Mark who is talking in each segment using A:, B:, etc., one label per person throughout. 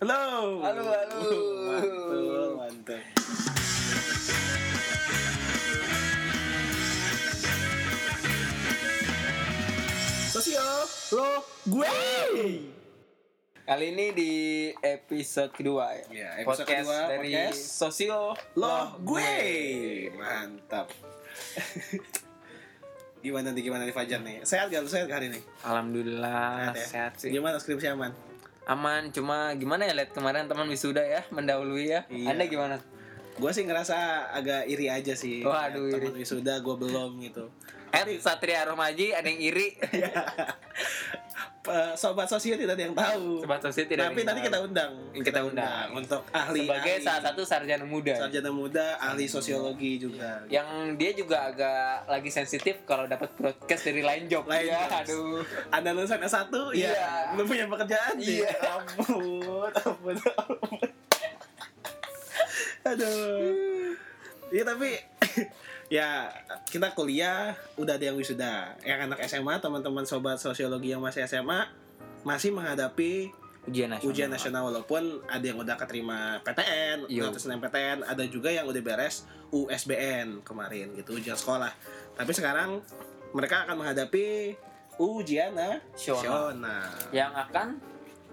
A: Halo.
B: Halo, halo.
A: Mantul, mantul. Sosial lo gue.
B: Kali ini di episode kedua ya.
A: Iya, episode
B: podcast
A: kedua,
B: dari
A: podcast.
B: Sosio
A: Lo gue. Mantap. gimana nih gimana nih Fajar nih? Sehat gak lu sehat gak hari ini?
B: Alhamdulillah
A: ya?
B: sehat sih.
A: Gimana skripsi aman?
B: Aman, cuma gimana ya lihat kemarin teman wisuda ya mendahului ya.
A: Iya.
B: Anda gimana?
A: Gue sih ngerasa agak iri aja sih.
B: Waduh,
A: Temen wisuda gue belum gitu.
B: At Satria Romaji ada yang iri.
A: Eh, sobat sosio tidak ada yang tahu.
B: Sobat Sosio tidak
A: Tapi
B: ada yang
A: nanti
B: tahu.
A: kita undang.
B: Kita undang.
A: untuk ahli
B: sebagai
A: ahli
B: salah satu Iya, sarjana muda. Ya.
A: sarjana muda, ahli sosiologi juga.
B: Yang dia juga agak lagi sensitif kalau dapat broadcast dari lain job.
A: Lain
B: ya,
A: jobs.
B: aduh.
A: Ada lulusan S1, ya
B: Iya.
A: belum punya pekerjaan
B: Iya.
A: ya. Ampun, ampun, ampun. Aduh. Iya tapi ya kita kuliah udah ada yang wisuda. Yang anak SMA, teman-teman sobat sosiologi yang masih SMA masih menghadapi
B: Ujian nasional.
A: ujian nasional walaupun ada yang udah keterima PTN,
B: Yo.
A: udah PTN, ada juga yang udah beres USBN kemarin gitu ujian sekolah. Tapi sekarang mereka akan menghadapi ujian
B: Nasional.
A: nasional
B: Yang akan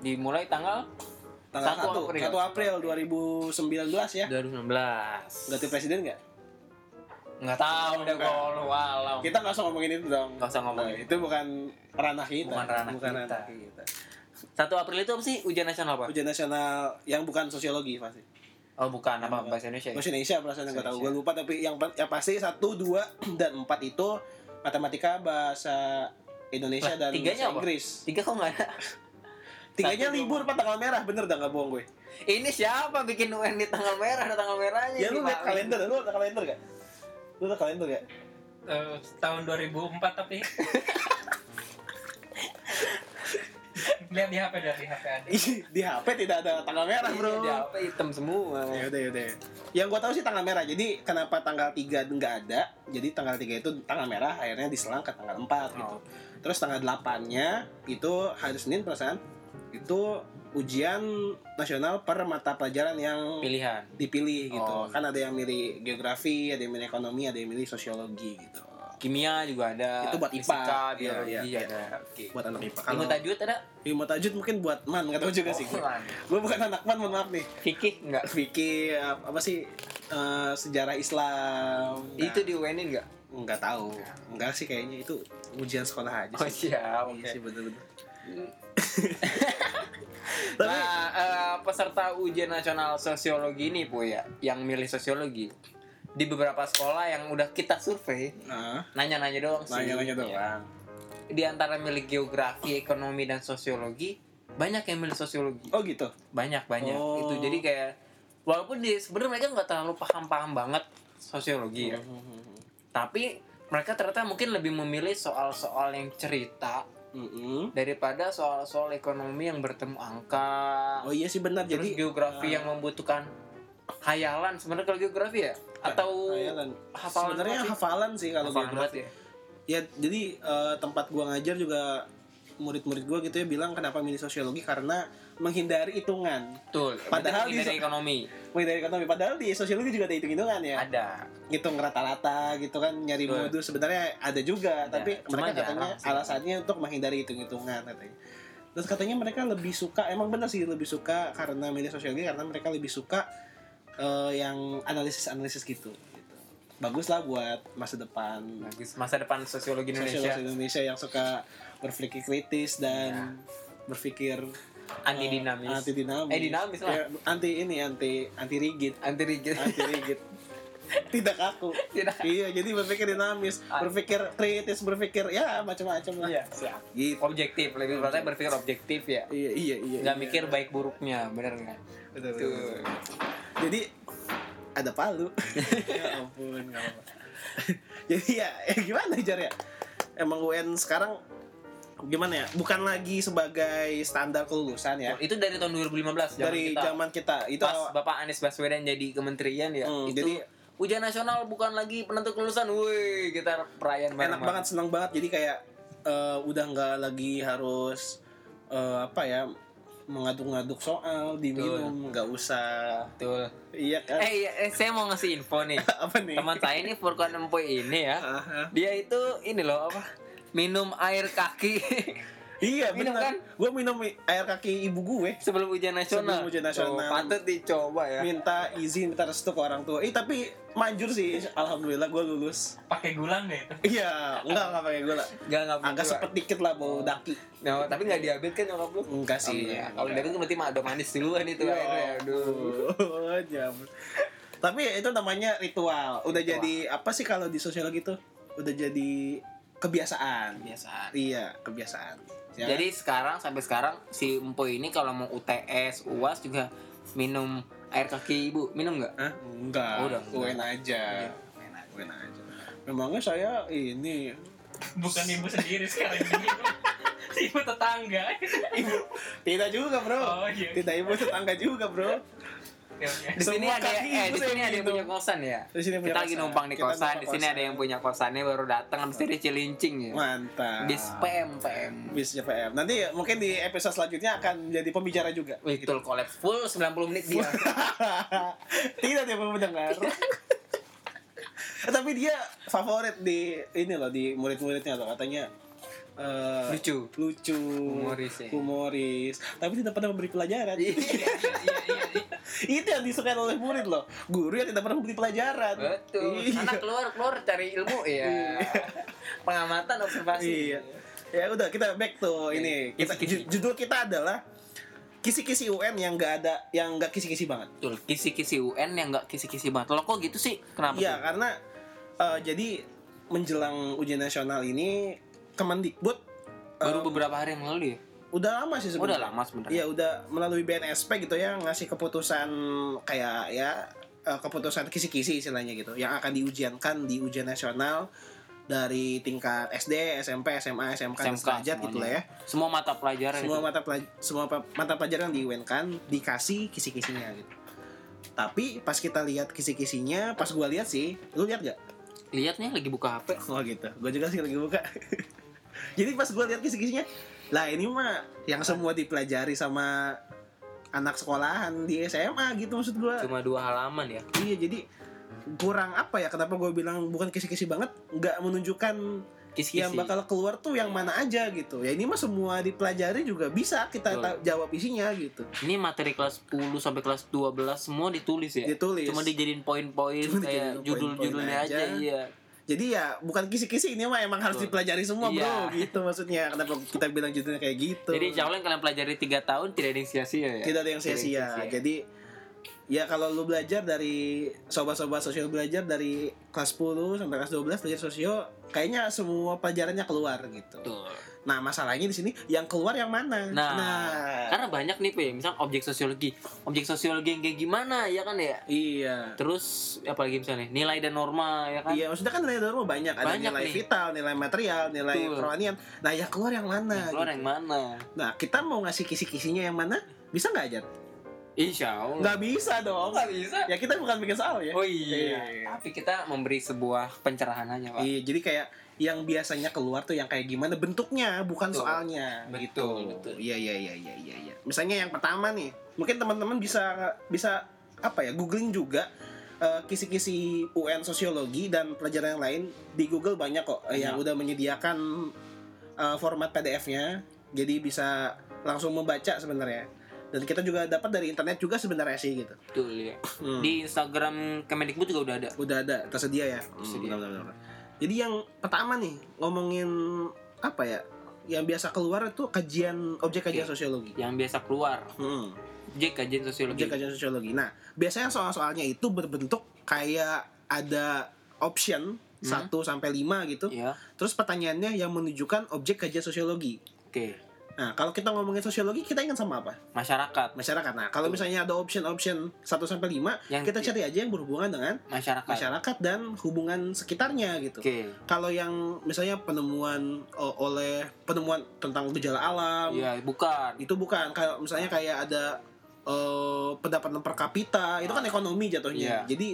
B: dimulai tanggal
A: tanggal 1
B: Iya.
A: April.
B: Satu April.
A: 1 April 2019 ya.
B: 2019.
A: Ganti presiden nggak?
B: Nggak tahu deh
A: Nggak.
B: kalau walau.
A: Kita nggak usah ngomongin itu dong.
B: Nggak usah ngomongin.
A: Nah, itu bukan ranah kita.
B: Bukan ranah
A: Bukan
B: kita.
A: ranah kita.
B: 1 April itu apa sih? Ujian nasional apa?
A: Ujian nasional yang bukan sosiologi pasti.
B: Oh bukan, apa bahasa Indonesia ya?
A: Bahasa Indonesia perasaan yang gak tahu.
B: Indonesia.
A: Gue lupa tapi yang yang pasti satu, dua dan empat itu matematika bahasa Indonesia
B: Lah,
A: dan bahasa
B: tiganya apa?
A: Inggris.
B: Tiga kok nggak ada?
A: Tiganya
B: Satu, dua,
A: libur pak tanggal merah bener dah nggak bohong gue.
B: Ini siapa bikin UN di tanggal merah? Ada tanggal merahnya
A: Ya
B: ini,
A: lu liat
B: Pak.
A: kalender, lu liat kalender gak? Lu liat kalender gak?
C: Eh, tahun 2004 tapi lihat di HP dari HP ada
A: Ih, di HP tidak ada tanggal merah
B: Iya,
A: bro.
B: Di apa hitam semua.
A: Ya udah ya udah. Yang gue tahu sih tanggal merah. Jadi kenapa tanggal 3 nggak ada? Jadi tanggal 3 itu tanggal merah akhirnya diselang ke tanggal 4 gitu.
B: Oh.
A: Terus tanggal 8-nya itu hari Senin perasaan itu ujian nasional per mata pelajaran yang
B: Pilihan.
A: dipilih gitu.
B: Oh.
A: Kan ada yang milih geografi, ada yang milih ekonomi, ada yang milih sosiologi gitu.
B: Kimia juga ada.
A: Itu buat IPA.
B: Fisika,
A: Iya,
B: biologi
A: iya, iya.
B: ada.
A: Buat anak IPA.
B: Ilmu
A: Kalau
B: tajwid ada?
A: ilmu tajwid mungkin buat Oh, man, nggak tahu juga sih gue.
B: Bukan.
A: Gue bukan anak man, mohon maaf nih.
B: Fikih enggak?
A: Fikih apa sih eh, sejarah Islam. Nah,
B: Itu di UN-in enggak?
A: nggak tahu nggak sih kayaknya itu ujian sekolah aja
B: Oh
A: sih
B: siap,
A: Iya
B: oke.
A: sih bener-bener tapi
B: Nah, eh, peserta ujian nasional sosiologi ini Bu ya, yang milih sosiologi di beberapa sekolah yang udah kita survei
A: nah, iya.
B: nanya-nanya doang sih. Iya.
A: nanya-nanya doang
B: Di antara milih geografi, ekonomi dan sosiologi, banyak yang milih sosiologi.
A: oh gitu
B: Banyak banyak.
A: Oh.
B: Itu jadi kayak walaupun di sebenarnya mereka nggak terlalu paham-paham banget sosiologi
A: Iya. Hmm.
B: ya. Tapi mereka ternyata mungkin lebih memilih soal-soal yang cerita
A: Mm-mm.
B: daripada soal-soal ekonomi yang bertemu angka,
A: oh iya sih benar
B: Terus
A: jadi
B: geografi
A: Ah.
B: yang membutuhkan hayalan sebenarnya kalau geografi ya atau
A: hayalan.
B: hafalan
A: sebenarnya
B: banget sih.
A: hafalan sih kalau
B: Hafalan
A: geografi.
B: banget ya.
A: ya jadi eh, tempat gua ngajar juga murid-murid gua gitu ya bilang kenapa milih sosiologi karena menghindari hitungan
B: Betul.
A: Padahal
B: Padahal di
A: di-
B: ekonomi
A: menghindari ekonomi padahal di sosiologi juga ada hitung-hitungan ya
B: ada.
A: ngitung rata-rata gitu kan nyari
B: Betul.
A: modus sebenarnya ada juga
B: Ada.
A: tapi
B: Cuma
A: mereka
B: jarang
A: katanya
B: sih.
A: alasannya untuk menghindari hitung-hitungan katanya terus katanya mereka lebih suka emang bener sih lebih suka karena media sosialnya karena mereka lebih suka eh, yang analisis-analisis gitu, gitu. bagus lah buat masa depan
B: Bagus. Masa depan sosiologi
A: Indonesia.
B: Indonesia Ya.
A: Indonesia yang suka berpikir kritis dan berpikir
B: anti
A: Eh, anti
B: dinamis.
A: dinamis Ya,
B: Eh, dinamis lah.
A: anti ini anti anti rigid
B: Anti rigid.
A: anti rigid tidak kaku
B: Tidak.
A: iya jadi berpikir dinamis berpikir kritis berpikir ya macam-macam lah
B: Iya, siap.
A: gitu
B: Objektif, lebih tepatnya berpikir objektif ya.
A: iya iya iya
B: Nggak
A: iya.
B: mikir baik buruknya, bener nggak?
A: Betul, betul,
B: Tuh.
A: betul. jadi ada palu ya ampun nggak apa-apa jadi ya eh, gimana jar ya emang UN sekarang gimana ya bukan lagi sebagai standar kelulusan ya
B: Oh, Itu dari tahun 2015 zaman
A: dari
B: kita.
A: zaman kita itu
B: pas Bapak Anies Baswedan jadi kementerian ya.
A: Hmm,
B: itu
A: jadi-
B: ujian nasional bukan lagi penentu kelulusan. Woi, kita
A: enak
B: perayaan bareng-bareng.
A: banget senang banget jadi kayak eh, udah nggak lagi harus eh, apa ya mengaduk-ngaduk soal diminum nggak usah
B: Betul.
A: iya kan
B: Eh, iya, eh, saya mau ngasih info nih.
A: apa nih
B: Teman saya ini Furkon Empoy ini ya.
A: Aha.
B: Dia itu ini loh apa? Minum air kaki
A: iya
B: Minum
A: benar
B: kan?
A: gue minum air kaki ibu gue
B: sebelum ujian nasional.
A: Sebelum ujian nasional.
B: Tuh, patut dicoba ya.
A: minta izin minta restu ke orang tua eh tapi manjur sih alhamdulillah gue lulus
C: Pakai gula nggak itu?
A: iya enggak enggak pakai gula
B: Gak nggak
A: agak
B: berdua.
A: sepet dikit lah bau daki
B: No, tapi nggak diabetes kan nyokap lu?
A: enggak sih
B: Iya. Kalau diabetes kan berarti mah ada manis duluan itu
A: Ya
B: airnya. Iya, Aduh.
A: ampun, Oh, jam. Tapi itu namanya ritual. Udah
B: Ritual.
A: jadi apa sih kalau di sosiologi itu? Udah jadi kebiasaan.
B: Biasaan.
A: Iya, kebiasaan. Ya
B: Iya. Jadi sekarang sampai sekarang si Empoy ini kalau mau UTS, UAS juga minum air kaki ibu. Minum nggak?
A: kan? Hah? enggak.
B: Oh, udah, Iya.
A: UN aja. UN aja. Memangnya saya ini
C: Bukan ibu sendiri sekarang ini. ibu tetangga.
A: ibu tidak juga, Bro.
C: Oh iya.
A: Tidak ibu tetangga juga, Bro.
C: Oke, oke.
B: Di sini
A: Semua
B: ada
A: kaki
B: eh
A: ibu
B: di
A: saya
B: sini ada yang
A: minum.
B: punya kosan ya.
A: Di sini punya
B: Kita lagi
A: kosan.
B: numpang di
A: Kita
B: kosan, di
A: numpang
B: sini
A: kosan.
B: ada yang punya kosannya baru datang habis itu dia cilincing ya.
A: Mantap.
B: Bis PM PM.
A: Bis JPM. Nanti mungkin di episode selanjutnya akan jadi pembicara juga.
B: Betul collapse full 90 menit dia.
A: Tidak dia mau mendengar. Eh, Tapi dia favorit di ini loh di murid-muridnya loh katanya eh,
B: Lucu.
A: lucu,
B: Humoris ya.
A: humoris. Tapi tidak pernah memberi pelajaran.
B: Iya.
C: Iya, iya, iya.
A: Itu yang disukai oleh murid loh. Guru yang tidak pernah memberi pelajaran.
B: Betul.
A: Iya.
B: Anak keluar keluar cari ilmu ya. Pengamatan observasi.
A: Iya. Ya udah kita back to
B: Oke.
A: ini. Kita,
B: Kisi-kisi.
A: ju- judul kita adalah kisi-kisi UN yang nggak ada yang nggak kisi-kisi banget.
B: Betul. Kisi-kisi UN yang nggak kisi-kisi banget. Lo kok gitu sih? Kenapa?
A: Iya
B: tuh?
A: karena eh, jadi menjelang ujian nasional ini Kemendikbud eh,
B: Baru beberapa hari yang lalu ya.
A: udah lama sih
B: Udah
A: sebenarnya.
B: lama sebenarnya.
A: Iya udah melalui BNSP gitu ya ngasih keputusan kayak ya eh, keputusan kisi-kisi istilahnya gitu yang akan diujiankan di ujian nasional dari tingkat SD, SMP, SMA, SMK, dan
B: SMK,
A: sederajat gitu lah ya.
B: Semua mata pelajaran
A: Semua
B: itu.
A: mata pelaj- semua pa- mata pelajaran yang diUN-kan dikasih kisi-kisinya gitu. Tapi pas kita lihat kisi-kisinya, pas gua lihat sih, lu lihat gak?
B: Lihat nih lagi buka HP.
A: Oh gitu, gue juga sih lagi buka. Jadi pas gue lihat kisi-kisinya, lah ini mah yang semua dipelajari sama anak sekolahan di SMA gitu maksud gue.
B: Cuma dua halaman ya.
A: Iya jadi kurang apa ya? Kenapa gue bilang bukan kisi-kisi banget? Nggak menunjukkan
B: Kisi-kisi.
A: yang bakal keluar tuh yang mana aja gitu. Ya ini mah semua dipelajari juga bisa kita
B: Betul.
A: ta- jawab isinya gitu.
B: Ini materi kelas 10 sampai kelas 12 semua ditulis ya.
A: Ditulis.
B: Cuma dijadiin poin-poin
A: Cuma dijadiin
B: kayak
A: poin-poin
B: judul-judulnya aja.
A: aja.
B: Iya.
A: Jadi ya bukan kisi-kisi ini mah emang harus
B: Betul.
A: dipelajari semua
B: Iya.
A: bro gitu maksudnya. Kenapa kita bilang judulnya kayak gitu?
B: Jadi insya Allah yang kalian pelajari 3 tahun tidak ada yang sia-sia ya.
A: tidak ada yang sia-sia. Jadi ya kalau lu belajar dari sobat-sobat sosial belajar dari kelas 10 sampai kelas 12 belajar sosio, kayaknya semua pelajarannya keluar gitu.
B: Betul.
A: Nah, masalahnya di sini yang keluar yang mana?
B: Nah, Karena banyak nih, Pe, misal objek sosiologi. Objek sosiologi yang kayak gimana ya kan ya?
A: iya.
B: Terus apalagi misalnya nilai dan norma ya kan?
A: Iya, maksudnya kan nilai norma banyak, ada
B: Banyak
A: nilai
B: nih.
A: vital, nilai material, nilai
B: Betul.
A: kerohanian. Nah, yang keluar yang mana?
B: Keluar
A: gitu.
B: yang mana?
A: Nah, kita mau ngasih kisi-kisinya yang mana? Bisa nggak ajar?
B: Insya Allah.
A: Nggak bisa dong.
C: Nggak bisa.
A: Ya kita bukan bikin soal ya.
B: Oh iya. Tapi kita memberi sebuah pencerahan aja, Pak.
A: Iya, jadi kayak yang biasanya keluar tuh yang kayak gimana bentuknya, bukan
B: Betul.
A: soalnya.
B: Betul,
A: gitu.
B: betul.
A: Iya, iya, iya, iya, iya, iya. Misalnya yang pertama nih, mungkin teman-teman bisa bisa apa ya, googling juga eh, kisi-kisi UN sosiologi dan pelajaran yang lain di Google banyak kok eh, yang
B: Banyak.
A: udah menyediakan eh, format PDF-nya. Jadi bisa langsung membaca sebenarnya. Dan kita juga dapat dari internet juga sebenarnya sih gitu.
B: Betul ya.
A: Hmm
B: Di Instagram Kemendikbud juga udah ada.
A: udah ada tersedia ya
B: Tersedia.
A: Hmm, benar, benar, benar. jadi yang pertama nih ngomongin apa ya yang biasa keluar itu kajian objek kajian
B: Oke.
A: sosiologi
B: Yang biasa keluar,
A: Iya. Hmm,
B: objek kajian sosiologi.
A: objek kajian sosiologi nah biasanya soal-soalnya itu berbentuk kayak ada option
B: Hmm.
A: 1 sampai 5 gitu
B: Ya.
A: terus pertanyaannya yang menunjukkan objek kajian sosiologi
B: Oke.
A: nah kalau kita ngomongin sosiologi kita ingat sama apa
B: Masyarakat.
A: masyarakat nah kalau
B: Betul.
A: misalnya ada option option 1 sampai 5
B: Yang
A: kita cari aja yang iya. Ah. berhubungan dengan
B: masyarakat.
A: masyarakat dan hubungan sekitarnya gitu
B: Oke.
A: kalau yang misalnya penemuan o- oleh penemuan tentang gejala alam
B: Iya, bukan.
A: itu bukan kalau misalnya kayak ada eh, pendapatan per kapita itu kan ekonomi jatuhnya
B: Iya.
A: jadi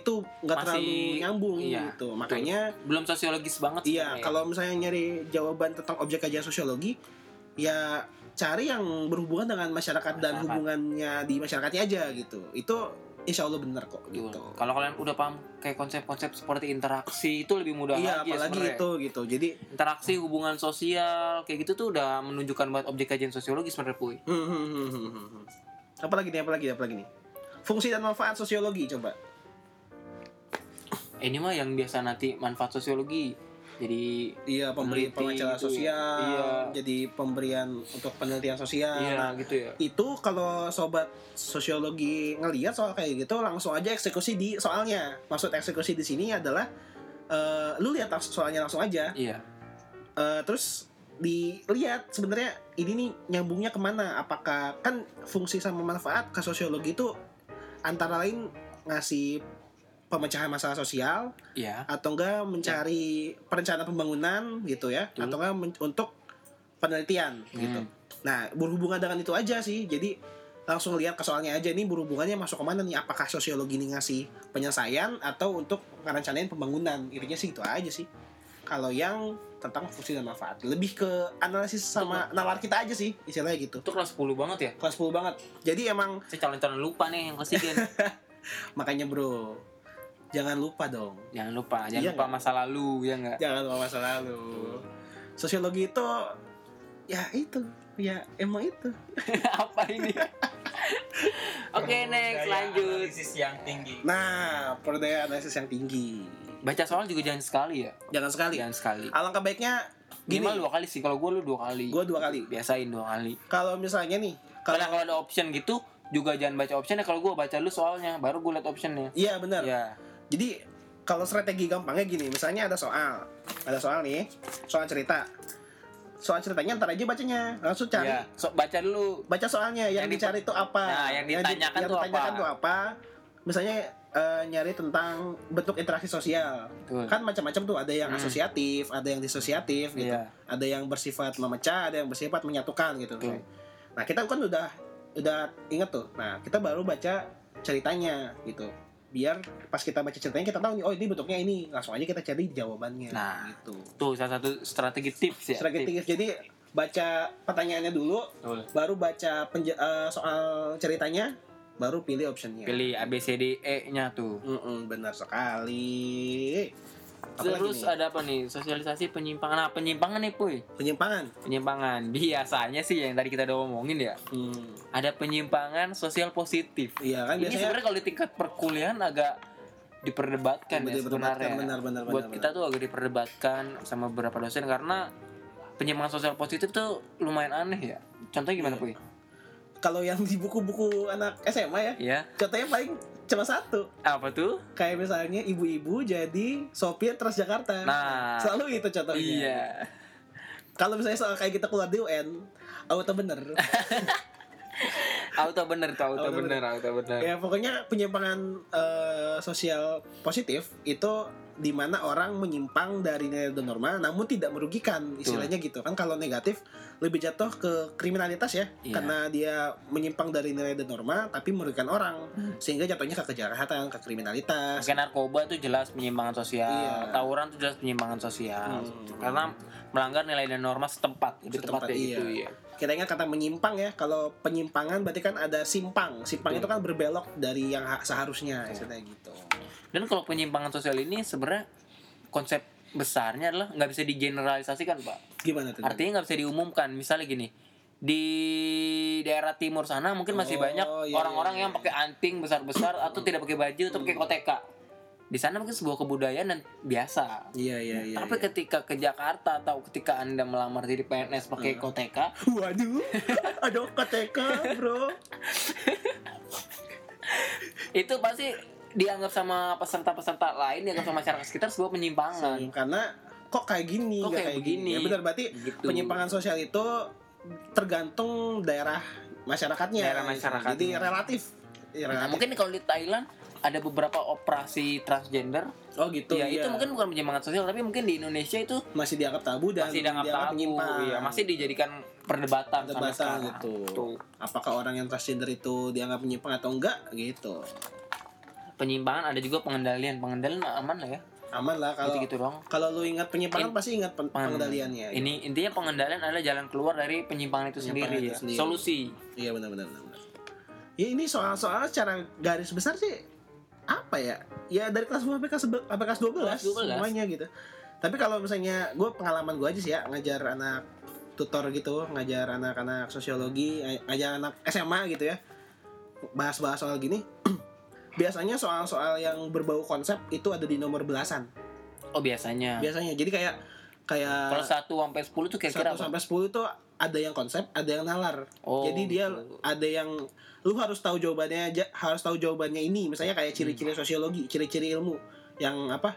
A: itu nggak
B: Masih-
A: terlalu nyambung
B: iya,
A: gitu makanya
B: Belum sosiologis banget
A: iya
B: sebenarnya.
A: kalau misalnya nyari jawaban tentang objek kajian sosiologi ya cari yang berhubungan dengan masyarakat dan
B: Masyarakat.
A: hubungannya di masyarakatnya aja gitu itu insya Allah bener kok
B: Betul.
A: gitu
B: Iya. Kalau kalian udah paham kayak konsep-konsep seperti interaksi itu lebih mudah
A: iya
B: lagi ya
A: apalagi
B: sebenarnya.
A: itu gitu jadi
B: Interaksi hubungan sosial kayak gitu tuh udah menunjukkan buat objek kajian sosiologi sebenarnya puy.
A: hmm, hmm, hmm, hmm, hmm, hmm. apalagi nih apalagi nih, apalagi nih fungsi dan manfaat sosiologi coba
B: Eh, ini mah yang biasa nanti manfaat sosiologi. Jadi
A: iya pemberi
B: Peneliti
A: pengacara
B: gitu ya.
A: sosial
B: Iya.
A: jadi pemberian untuk penelitian sosial Nah,
B: iya gitu ya.
A: itu kalau sobat sosiologi ngelihat soal kayak gitu langsung aja eksekusi di soalnya maksud eksekusi di sini adalah eh, lu lihat langs- soalnya langsung aja
B: Iya.
A: Eh, terus dilihat sebenarnya ini nih nyambungnya kemana apakah kan fungsi sama manfaat ke sosiologi itu antara lain ngasih pemecahan masalah sosial
B: Iya.
A: atau enggak mencari perencanaan pembangunan gitu ya
B: Betul.
A: atau enggak men- untuk penelitian gitu
B: Gitu.
A: Nah, berhubungan dengan itu aja sih. Jadi langsung lihat ke soalnya aja ini berhubungannya masuk ke mana nih? Apakah sosiologi ini ngasih penyelesaian atau untuk ngerencanain pembangunan? Intinya sih itu aja sih. Kalau yang tentang fungsi dan manfaat, lebih ke analisis sama nalar kita aja sih, istilahnya gitu.
B: Itu kelas 10 banget ya.
A: Kelas 10 banget. Jadi emang
B: Saya calon-calon lupa nih yang kelas 3 nih.
A: makanya bro, jangan lupa dong.
B: Jangan lupa, jangan
A: Iya
B: lupa
A: nggak?
B: masa lalu ya enggak?
A: Jangan lupa masa lalu. Sosiologi itu ya itu, ya emang itu.
B: Apa ini? Oke, next
A: ya.
C: Budaya
B: lanjut.
C: ya, analisis yang tinggi
A: Nah, perdaya analisis yang tinggi.
B: Baca soal juga jangan sekali ya.
A: Jangan sekali.
B: Jangan sekali.
A: Alangkah baiknya gini,
B: Minimal dua kali sih. Kalau gue lu dua kali.
A: gue dua kali.
B: biasain dua kali.
A: Kalau misalnya nih,
B: Karena
A: kalau
B: kalau ada option gitu juga jangan baca optionnya. Kalau gue baca lu soalnya, baru gue liat optionnya.
A: iya benar.
B: Ya.
A: Jadi kalau strategi gampangnya gini, misalnya ada soal, ada soal nih, soal cerita, soal ceritanya ntar aja bacanya, langsung cari,
B: Ya. So, baca dulu.
A: baca soalnya yang,
B: Yang di-
A: dicari itu apa,
B: Nah, yang ditanyakan
A: yang
B: tuh
A: ditanyakan
B: apa.
A: tuh apa, misalnya eh, nyari tentang bentuk interaksi sosial,
B: Betul.
A: kan macam-macam tuh, ada yang
B: Hmm.
A: asosiatif, ada yang disosiatif gitu,
B: Iya.
A: ada yang bersifat memecah, ada yang bersifat menyatukan gitu.
B: Betul.
A: Nah kita kan udah udah inget tuh. Nah kita baru baca ceritanya gitu. Biar pas kita baca ceritanya kita tahu nih oh ini bentuknya ini langsung aja kita cari jawabannya.
B: Nah.
A: gitu.
B: Tuh salah satu strategi tips ya. Tips.
A: Strategi jadi baca pertanyaannya dulu,
B: Betul.
A: baru baca penje- eh, soal ceritanya, baru pilih optionnya.
B: Pilih A B C D E nya tuh.
A: Mm-mm, benar sekali. Apalagi
B: Terus
A: nih?
B: ada apa nih? Sosialisasi penyimpangan. Nah, penyimpangan nih, Puy.
A: penyimpangan.
B: Penyimpangan. Biasanya sih yang tadi kita udah ngomongin ya.
A: Hmm.
B: Ada penyimpangan sosial positif.
A: Iya kan
B: Ini
A: biasanya
B: sebenarnya kalau di tingkat perkuliahan agak diperdebatkan ya sebenarnya.
A: benar-benar
B: buat kita tuh agak diperdebatkan sama beberapa dosen karena penyimpangan sosial positif tuh lumayan aneh ya. Contohnya gimana,
A: Iya.
B: Puy?
A: kalau yang di buku-buku anak SMA ya
B: Ya,
A: contohnya paling cuma satu
B: apa tuh?
A: kayak misalnya ibu-ibu jadi sopir Transjakarta.
B: Nah.
A: selalu itu contohnya.
B: Iya.
A: Kalau misalnya soal kayak kita keluar di UN, auto bener.
B: Auto bener tuh, auto,
A: Auto
B: bener, auto bener.
A: ya pokoknya penyimpangan eh, sosial positif itu di mana orang menyimpang dari nilai dan norma namun tidak merugikan istilahnya gitu kan kalau negatif lebih jatuh ke kriminalitas ya
B: Iya.
A: karena dia menyimpang dari nilai dan norma tapi merugikan orang
B: Hmm.
A: sehingga jatuhnya ke kejahatan ke kriminalitas
B: Kayak narkoba tuh jelas penyimpangan sosial,
A: Iya.
B: tawuran tuh jelas penyimpangan sosial.
A: Hmm.
B: Karena melanggar nilai dan norma setempat, lebih
A: Setempat,
B: tepatnya
A: iya.
B: gitu ya.
A: kita ingat kata menyimpang ya kalau penyimpangan berarti kan ada simpang simpang
B: Betul.
A: itu kan berbelok dari yang ha- seharusnya
B: Betul.
A: istilahnya gitu
B: Dan kalau penyimpangan sosial ini sebenarnya konsep besarnya adalah nggak bisa digeneralisasikan, Pak.
A: gimana tuh
B: Artinya nggak bisa diumumkan. Misalnya gini, di daerah timur sana mungkin
A: Oh,
B: masih banyak
A: iya,
B: orang-orang
A: iya, Hmm.
B: yang pakai anting besar-besar atau tidak pakai baju atau pakai koteka. Di sana mungkin sebuah kebudayaan dan biasa.
A: iya iya iya
B: Tapi
A: iya.
B: ketika ke Jakarta atau ketika Anda melamar jadi PNS pakai
A: Hmm.
B: koteka,
A: waduh ada KTK bro
B: itu pasti dianggap sama peserta-peserta lain dianggap sama masyarakat sekitar sebuah penyimpangan.
A: Iya. karena kok kayak gini
B: Kok
A: nggak
B: kayak begini?
A: ya benar berarti
B: Gitu.
A: penyimpangan sosial itu tergantung daerah masyarakatnya
B: Daerah masyarakatnya.
A: jadi relatif Ya,
B: Nah,
A: relatif.
B: mungkin kalau di Thailand ada beberapa operasi transgender,
A: oh gitu
B: ya
A: iya.
B: itu mungkin bukan penyimpangan sosial, tapi mungkin di Indonesia itu
A: masih dianggap tabu dan
B: masih dianggap tabu
A: menyimpang.
B: iya, masih dijadikan perdebatan,
A: Perdebatan,
B: sama sekarang
A: gitu.
B: Tuh,
A: apakah orang yang transgender itu dianggap menyimpang atau enggak gitu
B: penyimpangan ada juga pengendalian pengendalian aman lah ya
A: aman lah kalau Iya,
B: gitu-gitu doang.
A: kalau lu ingat penyimpangan
B: In-
A: pasti ingat pen-
B: Pen-
A: pengendaliannya. gitu.
B: Ini intinya pengendalian adalah jalan keluar dari penyimpangan itu
A: Penyimpangan itu
B: sendiri ya.
A: sendiri.
B: Solusi.
A: Iya benar-benar. benar. Ya ini soal-soal secara garis besar sih apa ya? Ya dari kelas 10 sampai kelas, sebe- sampai kelas 12,
B: Kelas 12.
A: semuanya gitu. Tapi kalau misalnya gue pengalaman gue aja sih ya ngajar anak tutor gitu, ngajar anak-anak sosiologi, ngaj- ngajar anak SMA gitu ya. Bahas-bahas soal gini. biasanya soal-soal yang berbau konsep itu ada di nomor belasan.
B: Oh biasanya.
A: Biasanya. Jadi kayak kayak
B: Kalau satu sampai sepuluh tuh
A: 1
B: kira-kira apa?
A: sampai 10 itu ada yang konsep, ada yang nalar.
B: Oh,
A: Jadi dia
B: gitu.
A: ada yang lu harus tahu jawabannya aja, harus tahu jawabannya ini. Misalnya
B: Hmm.
A: kayak ciri-ciri sosiologi, ciri-ciri ilmu yang apa?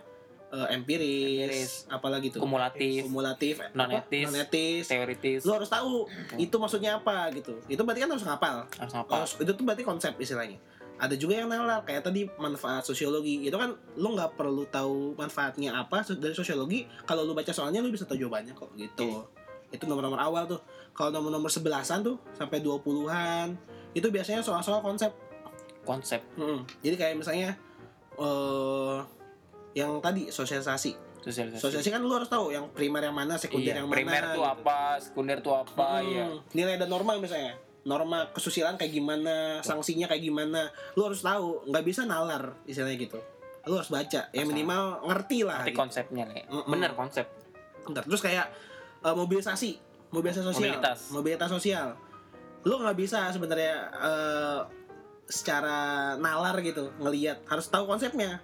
A: eh, empiris, apalagi tuh.
B: kumulatif,
A: Kumulatif, apa?
B: Non-etis. Hmm.
A: non-etis.
B: teoritis,
A: Lu harus tahu itu maksudnya apa gitu. Itu berarti kan harus ngapal.
B: harus apa?
A: Harus- itu tuh berarti konsep istilahnya. Ada juga yang nalar kayak tadi manfaat sosiologi. Itu kan lu nggak perlu tahu manfaatnya apa so- dari sosiologi. Kalau lu baca soalnya lu bisa tahu jawabannya kok
B: Iya.
A: gitu. Itu nomor-nomor awal tuh. Kalau nomor-nomor sebelasan tuh sampai 20-an itu biasanya soal-soal konsep.
B: Konsep.
A: Mm-mm. Jadi kayak misalnya eh yang tadi sosialisasi.
B: Sosialisasi.
A: Sosialisasi kan lu harus tahu yang primer yang mana, sekunder
B: Iya,
A: yang mana.
B: primer tuh
A: gitu.
B: apa, sekunder tuh apa,
A: Hmm,
B: ya.
A: Nilai dan norma misalnya. Norma kesusilaan kayak gimana, sanksinya kayak gimana. Lu harus tahu, nggak bisa nalar istilahnya gitu. Lu harus baca, ya
B: Asal.
A: minimal ngerti lah.
B: Nanti
A: gitu. Hmm.
B: konsepnya nih.
A: Mm-mm.
B: Bener konsep.
A: Bentar, Terus kayak eh, mobilisasi, mobilisasi sosial,
B: Mobilitas.
A: mobilitas sosial. Lu nggak bisa sebenarnya eh, secara nalar gitu ngelihat, harus tahu konsepnya.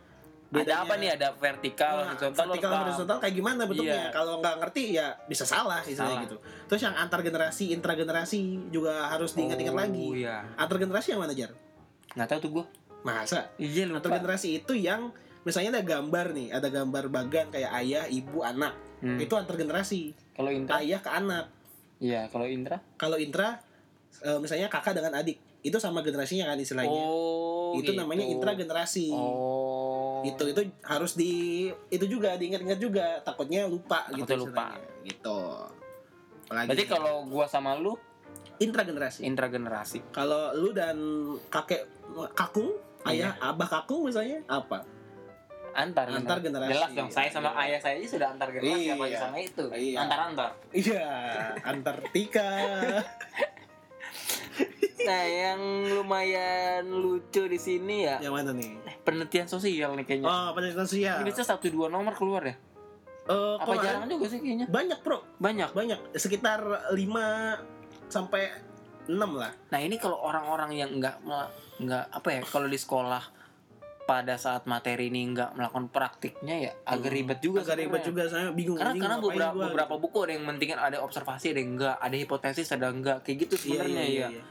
B: Ada apa nih? Ada vertikal,
A: Nah,
B: horizontal, lu
A: vertikal
B: harus paham.
A: horizontal kayak gimana bentuknya
B: Iya.
A: kalau nggak ngerti ya bisa salah misalnya
B: Salah.
A: gitu terus yang antar generasi intra generasi juga harus diingat-ingat
B: Oh,
A: lagi
B: Iya.
A: antar generasi yang mana jar
B: Nggak tahu tuh gua.
A: masa
B: Iya
A: antar generasi itu yang misalnya ada gambar nih ada gambar bagan kayak ayah ibu anak
B: Hmm.
A: itu antar generasi
B: Kalau Intra,
A: ayah ke anak
B: iya kalau Intra.
A: kalau intra eh, misalnya kakak dengan adik itu sama generasinya kan istilahnya
B: Oh,
A: itu namanya
B: gitu.
A: intra generasi
B: Oh.
A: itu Gitu, itu harus di itu juga diingat-ingat juga takutnya lupa
B: Takutnya
A: gitu
B: lupa.
A: istilahnya. gitu Apalagi
B: Berarti
A: sih?
B: kalau gua sama lu
A: intragenerasi
B: intra generasi.
A: kalau lu dan kakek kakung ayah
B: Iya.
A: abah kakung misalnya apa
B: Antar,
A: Antar generasi.
B: Jelas dong, saya sama
A: Iya.
B: ayah saya aja sudah antar generasi
A: Iya.
B: apalagi sama itu.
A: Iya.
B: Antar-antar.
A: iya antartika
B: Nah, yang lumayan lucu di sini ya
A: yang mana nih
B: penelitian sosial nih kayaknya.
A: oh penelitian sosial
B: Indonesia satu dua nomor keluar ya?
A: Eh,
B: Apa
A: kemarin
B: jarang juga sih kayaknya?
A: banyak bro
B: Banyak.
A: banyak sekitar 5 sampai 6 lah
B: Nah ini kalau orang-orang yang nggak mel- nggak apa ya kalau di sekolah pada saat materi ini nggak melakukan praktiknya ya agak
A: Hmm.
B: ribet juga.
A: agak ribet
B: sebenarnya.
A: juga saya bingung
B: Karena
A: anjing,
B: karena
A: ngapain
B: beberapa
A: gua,
B: beberapa buku ada yang mentingin ada observasi ada yang enggak, ada hipotesis ada enggak kayak gitu
A: Iya,
B: sebenarnya
A: iya,
B: ya.
A: iya.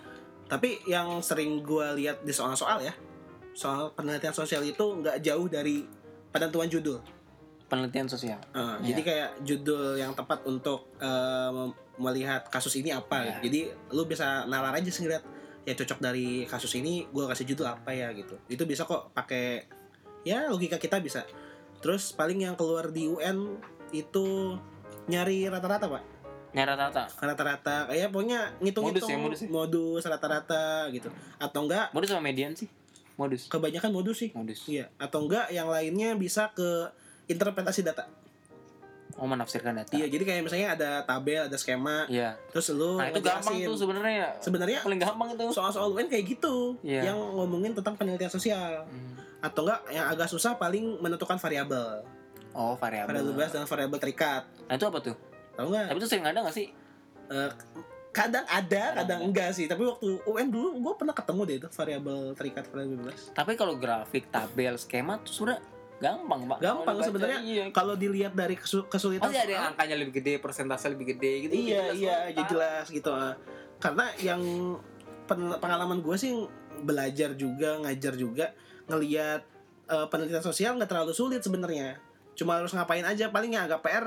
A: Tapi yang sering gua lihat di soal-soal ya, soal penelitian sosial itu nggak jauh dari penentuan judul.
B: Penelitian sosial.
A: Eh,
B: Iya.
A: Jadi kayak judul yang tepat untuk eh, mem- melihat kasus ini apa. gitu.
B: Iya.
A: Jadi lu bisa nalar aja sih ngeliat ya cocok dari kasus ini gua kasih judul apa ya gitu. Itu bisa kok pakai ya logika kita bisa. Terus paling yang keluar di UN itu nyari rata-rata pak
B: Nyara rata.
A: rata-rata kayak pokoknya ngitung-ngitung
B: Modus ya, modus ya.
A: modus rata-rata gitu atau enggak
B: Modus sama median sih? Modus.
A: kebanyakan modus sih
B: Modus.
A: iya atau enggak yang lainnya bisa ke interpretasi data
B: Oh menafsirkan data.
A: iya jadi kayak misalnya ada tabel ada skema
B: Iya.
A: terus lu
B: Nah itu gampang
A: ngejelasin.
B: tuh sebenarnya. ya.
A: sebenarnya
B: Paling gampang itu.
A: soal-soal UN kayak gitu
B: Iya.
A: yang ngomongin tentang penelitian sosial
B: Hmm.
A: atau enggak yang agak susah paling menentukan variabel
B: Oh variabel.
A: variabel bebas dan variabel terikat
B: Nah itu apa tuh?
A: tahu enggak
B: Tapi itu sering ada nggak sih?
A: Eh, kadang ada kadang enggak sih tapi waktu UN dulu gue pernah ketemu deh itu variabel terikat variabel bebas
B: Tapi kalau grafik, tabel, skema tuh sebenarnya gampang pak.
A: Gampang
B: Kalau dibaca,
A: sebenarnya.
B: Iya.
A: kalau dilihat dari kesu- kesulitan
B: Pasti Oh, iya, ada yang
A: soal,
B: angkanya lebih gede, persentase lebih gede gitu.
A: iya
B: Jelas
A: iya
B: banget,
A: jadi
B: Pak.
A: jelas gitu ah. karena yang pen- pengalaman gue sih belajar juga ngajar juga ngelihat eh, penelitian sosial nggak terlalu sulit sebenarnya cuma harus ngapain aja paling yang agak PR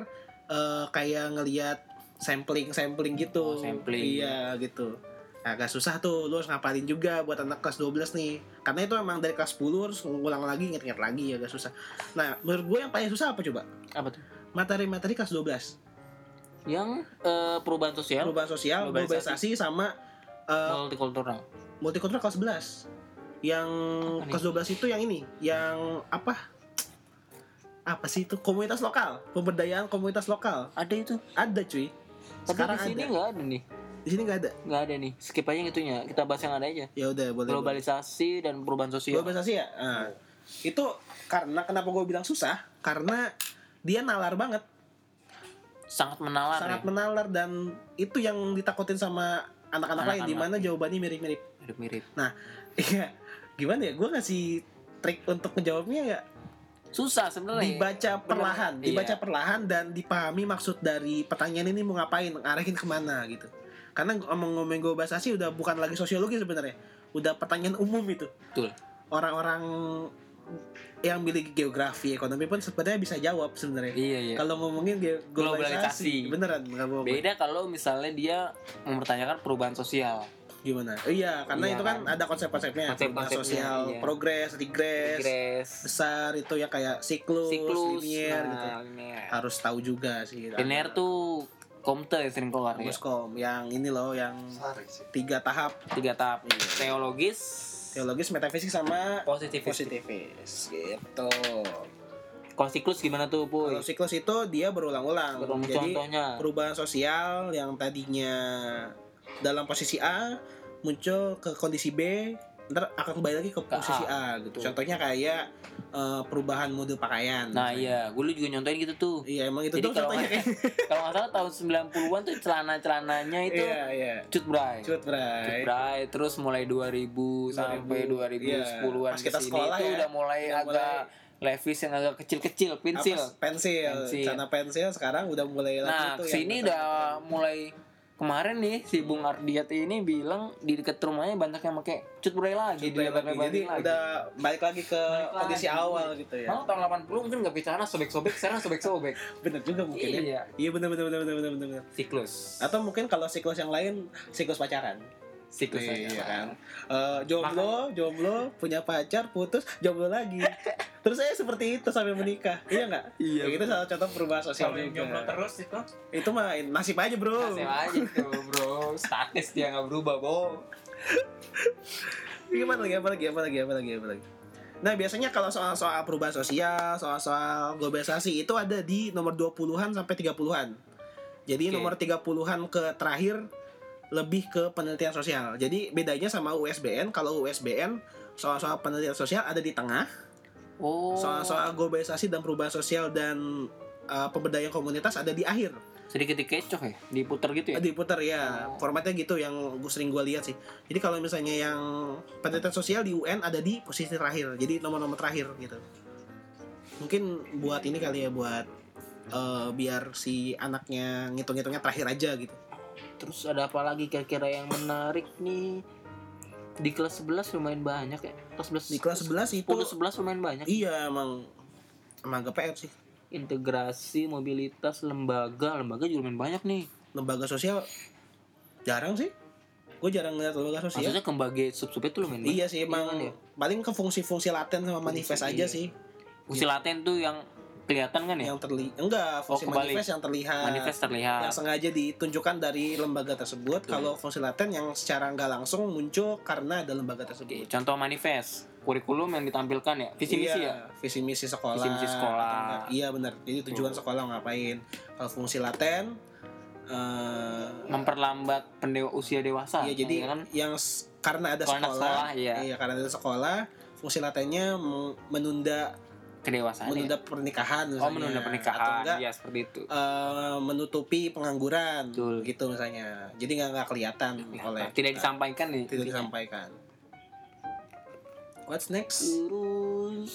A: eh, kayak ngelihat sampling sampling gitu
B: Oh, sampling.
A: iya gitu agak susah tuh lu harus ngapalin juga buat anak kelas 12 nih karena itu emang dari kelas 10 harus ngulang lagi inget-inget lagi agak susah nah menurut gue yang paling susah apa coba
B: Apa tuh?
A: materi-materi kelas 12
B: Yang eh, perubahan sosial,
A: perubahan sosial, globalisasi,
B: Globalisasi.
A: sama
B: Nah.
A: uh,
B: multikultural.
A: multikultural kelas 11. Yang
B: Apa nih?
A: kelas 12 itu yang ini, yang apa? apa sih itu komunitas lokal pemberdayaan komunitas lokal
B: Ada itu.
A: ada cuy
B: Tapi
A: sekarang
B: di sini
A: ada
B: nggak ada nih.
A: di sini nggak ada
B: Nggak ada nih. Skip aja yang itunya. Kita bahas yang ada aja.
A: ya udah boleh boleh.
B: Globalisasi Hmm. dan perubahan sosial.
A: globalisasi ya Ah. itu karena kenapa gue bilang susah karena dia nalar banget
B: Sangat menalar.
A: sangat
B: ya.
A: menalar dan itu yang ditakutin sama anak-anak lain di mana
B: Anak-anak. ya?
A: jawabannya mirip-mirip
B: Mirip-mirip.
A: iya gimana ya gue ngasih trik untuk menjawabnya nggak
B: Susah sebenarnya. ya.
A: dibaca
B: Bener.
A: perlahan
B: Oh, Iya.
A: dibaca perlahan dan dipahami maksud dari pertanyaan ini mau ngapain ngarahin kemana gitu karena ngomong-ngomong globalisasi udah bukan lagi sosiologi sebenarnya udah pertanyaan umum itu
B: Betul.
A: orang-orang yang miliki geografi ekonomi pun sebenarnya bisa jawab sebenarnya
B: Iya iya.
A: kalau ngomongin ge- globalisasi,
B: Globalisasi.
A: beneran nggak bohong
B: Beda kalau misalnya dia mempertanyakan perubahan sosial.
A: gimana Oh iya karena
B: Iya
A: itu kan,
B: kan.
A: ada konsep-konsepnya
B: Konsep-konsepnya,
A: perubahan sosial
B: iya.
A: progres regress
B: Regress,
A: besar itu ya kayak siklus,
B: siklus,
A: linear
B: nah,
A: gitu
B: linear.
A: harus tahu juga sih
B: Linear tuh komte yang sering keluar ya.
A: Muskom yang ini loh yang tiga tahap
B: Tiga tahap.
A: Iya.
B: Teologis,
A: teologis metafisik sama
B: positif,
A: positivis gitu
B: Kalau siklus gimana tuh,
A: kalau
B: Puy?
A: siklus itu dia berulang-ulang
B: Tolong
A: jadi
B: contohnya.
A: perubahan sosial yang tadinya dalam posisi A muncul ke kondisi B ntar akan kembali lagi ke
B: Ke
A: posisi A, gitu
B: Betul.
A: contohnya kayak eh, perubahan mode pakaian misalnya.
B: Nah, iya, gue juga nyontohin gitu tuh.
A: iya emang itu
B: Jadi
A: tuh
B: kalau
A: contohnya
B: nggak-
A: kayak
B: Kalau nggak salah tahun 90-an tuh celana-celananya itu
A: iya iya
B: cut bray.
A: cut bray
B: Bray, terus mulai 2000, sampai
A: 2000,
B: 2010-an
A: iya. Pas
B: ke
A: kita
B: sini
A: sekolah
B: itu
A: ya,
B: udah mulai
A: udah
B: agak levis yang agak kecil-kecil, pensil.
A: Apa, pensil.
B: Pensil.
A: Karena pensil sekarang udah mulai
B: Nah,
A: lagi tuh yang
B: sini udah mulai kemarin nih si Bung Ardiat ini bilang di dekat rumahnya banyak yang pakai cut bray
A: Cut
B: lagi,
A: bray
B: dilebar
A: lagi. Jadi udah balik lagi ke
B: Balik
A: kondisi
B: lagi.
A: awal gitu ya.
B: Kalau tahun 80 mungkin nggak bicara sobek-sobek, sekarang sobek-sobek.
A: Bener juga mungkin ya.
B: iya,
A: Iya bener bener bener bener bener bener.
B: siklus.
A: Atau mungkin kalau siklus yang lain siklus pacaran.
B: siklus
A: Iya,
B: aja.
A: kan? Eh, jomblo, jomblo, punya pacar, putus, jomblo lagi. Terus saya seperti itu sampai menikah. Iya nggak?
B: Iya.
A: Ya, itu salah contoh perubahan sosial
C: Kalau yang
A: juga.
C: jomblo terus itu
A: Itu mah nasib aja bro.
B: Kasih aja tuh, Bro. Statis dia nggak berubah, Bo.
A: Gimana lagi? Apa lagi? Apa lagi? Apa lagi? Apa lagi? Nah, biasanya kalau soal-soal perubahan sosial, soal-soal globalisasi itu ada di nomor 20-an sampai 30-an. Jadi
B: Oke.
A: nomor 30-an ke terakhir lebih ke penelitian sosial. Jadi bedanya sama USBN, kalau USBN soal-soal penelitian sosial ada di tengah,
B: Oh.
A: soal-soal globalisasi dan perubahan sosial dan uh, pemberdayaan komunitas ada di akhir.
B: sedikit dikecoh ya, diputar gitu ya.
A: Diputer ya, formatnya gitu yang gue sering gue lihat sih. Jadi kalau misalnya yang penelitian sosial di UN ada di posisi terakhir, jadi nomor-nomor terakhir gitu. Mungkin buat ini kali ya buat eh, biar si anaknya ngitung-ngitungnya terakhir aja gitu.
B: Terus ada apa lagi kira-kira yang menarik nih? Di kelas 11 lumayan banyak ya. Kelas
A: Di
B: 11.
A: kelas 11 itu
B: 10 11 lumayan banyak.
A: iya emang emang GPR sih.
B: Integrasi, mobilitas, lembaga, lembaga juga lumayan banyak nih.
A: Lembaga sosial jarang sih. Gue jarang ngeliat lembaga sosial.
B: Maksudnya kembaga sub-sub itu lumayan banyak.
A: Iya sih emang
B: Iya kan ya?
A: paling ke fungsi-fungsi laten sama manifest
B: Fungsi,
A: aja
B: iya.
A: sih
B: Fungsi laten tuh yang kelihatan kan ya?
A: yang terlihat enggak fungsi
B: kebalik.
A: manifest yang terlihat
B: Manifest
A: yang
B: terlihat.
A: sengaja ditunjukkan dari lembaga tersebut
B: Ah. Betul.
A: kalau fungsi laten yang secara nggak langsung muncul karena ada lembaga
B: Oke,
A: tersebut
B: contoh manifest, kurikulum yang ditampilkan ya, visi misi
A: Iya,
B: ya.
A: visi misi sekolah
B: Visi misi sekolah.
A: atau enggak. iya benar jadi tujuan
B: Betul.
A: sekolah ngapain kalau fungsi laten eh,
B: Memperlambat pendewa usia dewasa.
A: iya jadi
B: ya kan?
A: yang s- karena ada
B: Kalau anak
A: sekolah,
B: sekolah, iya.
A: karena ada sekolah fungsi latennya meng- menunda
B: kedewasaan. ya?
A: menunda pernikahan
B: Oh,
A: misalnya.
B: menunda
A: atau
B: pernikahan.
A: enggak
B: Iya, seperti itu.
A: eh, menutupi pengangguran
B: Betul.
A: gitu misalnya jadi nggak nggak kelihatan
B: Ya,
A: oleh
B: tidak disampaikan nih.
A: tidak disampaikan what's next
B: Hmm, Terus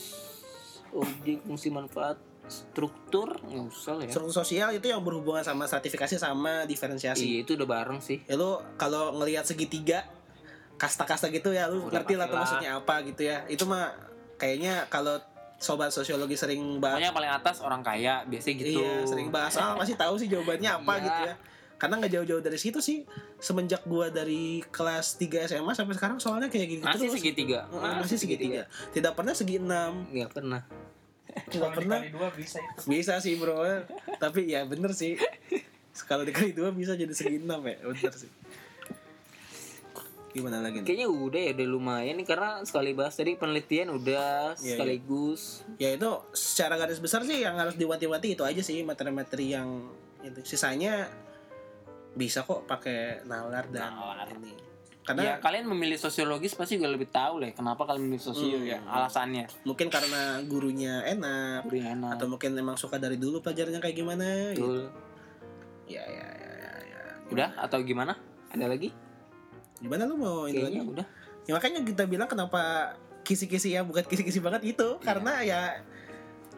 B: objek fungsi manfaat struktur nggak usah lah ya.
A: struktur sosial itu yang berhubungan sama stratifikasi sama diferensiasi
B: Iya itu udah bareng sih.
A: ya lu kalau ngelihat segitiga kasta-kasta gitu ya lu
B: Udah
A: ngerti lah tuh
B: pastilah.
A: maksudnya apa gitu ya itu mah kayaknya kalau sobat sosiologi sering bahas
B: Pokoknya yang paling atas orang kaya biasanya gitu.
A: Iya, sering bahas ah pasti tahu sih jawabannya apa
B: Iya.
A: gitu ya. Karena nggak jauh-jauh dari situ sih semenjak gua dari kelas 3 SMA sampai sekarang soalnya kayak gitu
B: Masih
A: terus.
B: segitiga.
A: Heeh, Masih segitiga. Tidak pernah segi 6.
B: Nggak pernah.
A: Nggak
C: kalau
A: pernah.
C: dikali dua bisa itu.
A: Bisa sih, Bro. Tapi ya bener sih. Kalau dikali dua bisa jadi segi 6 ya, bener sih. Gimana lagi? nih?
B: Kayaknya udah ya, udah lumayan nih karena sekali bahas tadi penelitian udah
A: Iya,
B: sekaligus.
A: Ya itu secara garis besar sih yang harus diwanti-wanti itu aja sih materi-materi yang itu. Sisanya bisa kok pakai nalar dan
B: Nalar.
A: ini.
B: Ya,
A: Karena
B: kalian memilih sosiologis pasti gue lebih tahu lah ya, kenapa kalian memilih sosio
A: Hmm.
B: ya alasannya.
A: mungkin karena gurunya enak
B: Beri enak.
A: atau mungkin emang suka dari dulu pelajarannya kayak gimana gitu.
B: Betul.
A: Ya ya ya ya. ya.
B: Udah atau gimana? Ada lagi?
A: Gimana lu mau ini lagi?
B: Kayaknya udah.
A: Ya, makanya kita bilang kenapa kisi-kisi ya bukan kisi-kisi banget
B: Iya.
A: itu karena ya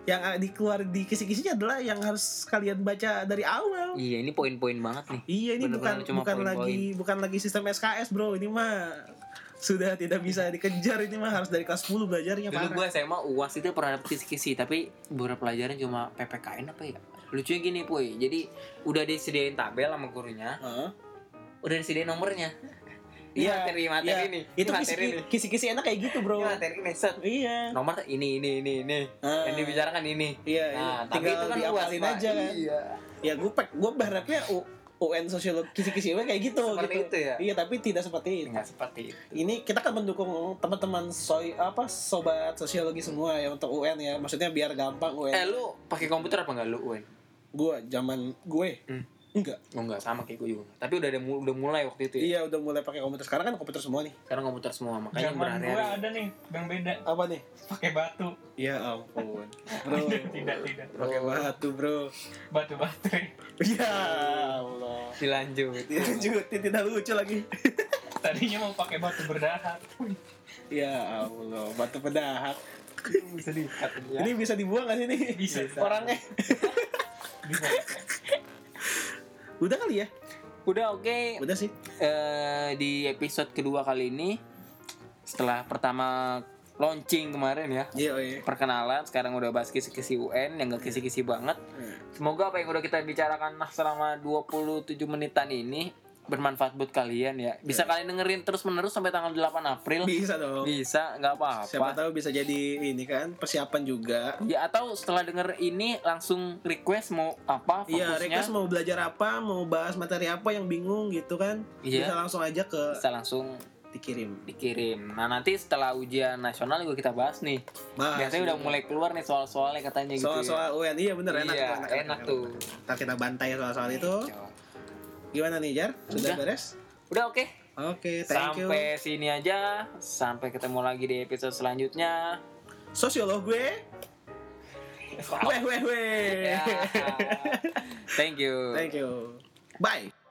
A: yang dikeluar di kisi-kisinya adalah yang harus kalian baca dari awal.
B: Iya, ini poin-poin banget nih.
A: Iya ini
B: Bener-bener
A: bukan
B: cuma
A: bukan
B: poin-poin.
A: lagi bukan lagi sistem SKS bro ini mah sudah tidak bisa dikejar ini mah harus dari kelas 10 belajarnya
B: Dulu
A: Iya, parah.
B: gue SMA UAS itu pernah dapet kisi-kisi Tapi beberapa pelajaran cuma PPKN apa ya Lucunya gini Puy Jadi udah disediain tabel sama gurunya
A: Heeh.
B: Udah disediain nomornya
A: Iya,
B: Iya materi materi
A: iya.
B: nih
A: Itu
B: Ini materi
A: kisi-
B: nih
A: kisi-kisi enak kayak gitu bro.
B: Ini materi nih set
A: Iya.
B: Nomor ini ini ini ini
A: Ah.
B: Yang dibicarakan ini
A: Iya, iya.
B: Nah tapi
A: tinggal
B: itu kan UAS
A: diapalin
B: Pak.
A: aja kan.
B: Iya
A: Ya gue pek, gue berharapnya U- UN sosiologi kisi-kisi emang kayak gitu
B: Seperti
A: gitu.
B: itu ya
A: Iya, tapi tidak seperti itu.
B: Nggak seperti itu
A: Ini kita kan mendukung teman-teman soi apa sobat sosiologi semua ya untuk UN ya. Maksudnya biar gampang UN.
B: Eh lu pakai komputer apa enggak lu UN?
A: Gua zaman gue.
B: Hmm.
A: Enggak.
B: Oh, enggak sama kayak gue juga Tapi udah ada mu- udah mulai waktu itu ya
A: Iya, udah mulai pakai komputer. Sekarang kan komputer semua nih.
B: Sekarang komputer semua makanya
C: Zaman gue
B: berhari-hari
C: ada nih, bang beda
A: Apa nih?
C: pakai batu.
A: Ya ampun.
B: Oh.
A: Bro.
C: Tidak, tidak, tidak.
A: Pakai batu, Bro.
C: Batu batu.
A: Ya Allah.
B: Dilanjut
A: Dilanjutin tidak lucu lagi.
C: Tadinya mau pakai batu berdahak.
A: Ya Allah, batu pedahak.
B: Bisa diikat ya.
A: Ini bisa dibuang gak sih nih?
C: Bisa.
A: Orangnya.
C: Bisa.
A: Udah kali ya?
B: Udah oke
A: Udah sih.
B: Eh, di episode kedua kali ini setelah pertama launching kemarin ya
A: Iya, oh iya.
B: perkenalan sekarang udah bahas kisi-kisi UN yang gak kisi-kisi banget semoga apa yang udah kita bicarakan nah selama 27 menitan ini bermanfaat buat kalian ya bisa kalian dengerin terus menerus sampai tanggal 8 April
A: Iya. Bisa dong.
B: bisa nggak
A: Siapa
B: apa-apa
A: tahu bisa jadi ini kan persiapan juga.
B: ya atau setelah denger ini langsung request mau apa
A: Iya,
B: fokusnya
A: Rekas mau belajar apa, mau bahas materi apa yang bingung gitu kan.
B: Iya.
A: Bisa langsung aja ke
B: bisa langsung
A: dikirim.
B: dikirim nah nanti setelah ujian nasional juga kita bahas nih
A: Bahas. gitu.
B: Biasanya udah mulai keluar nih soal-soalnya katanya gitu
A: Ah, soal-soal UN. Iya bener
B: ya.
A: enak
B: iya,
A: tuh,
B: enak, tuh. Iya,
A: Ntar kita bantai soal-soal itu. Gimana nih, Jar? Sudah
B: Udah.
A: beres?
B: Udah oke.
A: Oke, thank you.
B: Sampai sini aja. Sampai ketemu lagi di episode selanjutnya.
A: Sosiolog gue. Weh weh weh.
B: Ya. Thank you.
A: Thank you. Bye.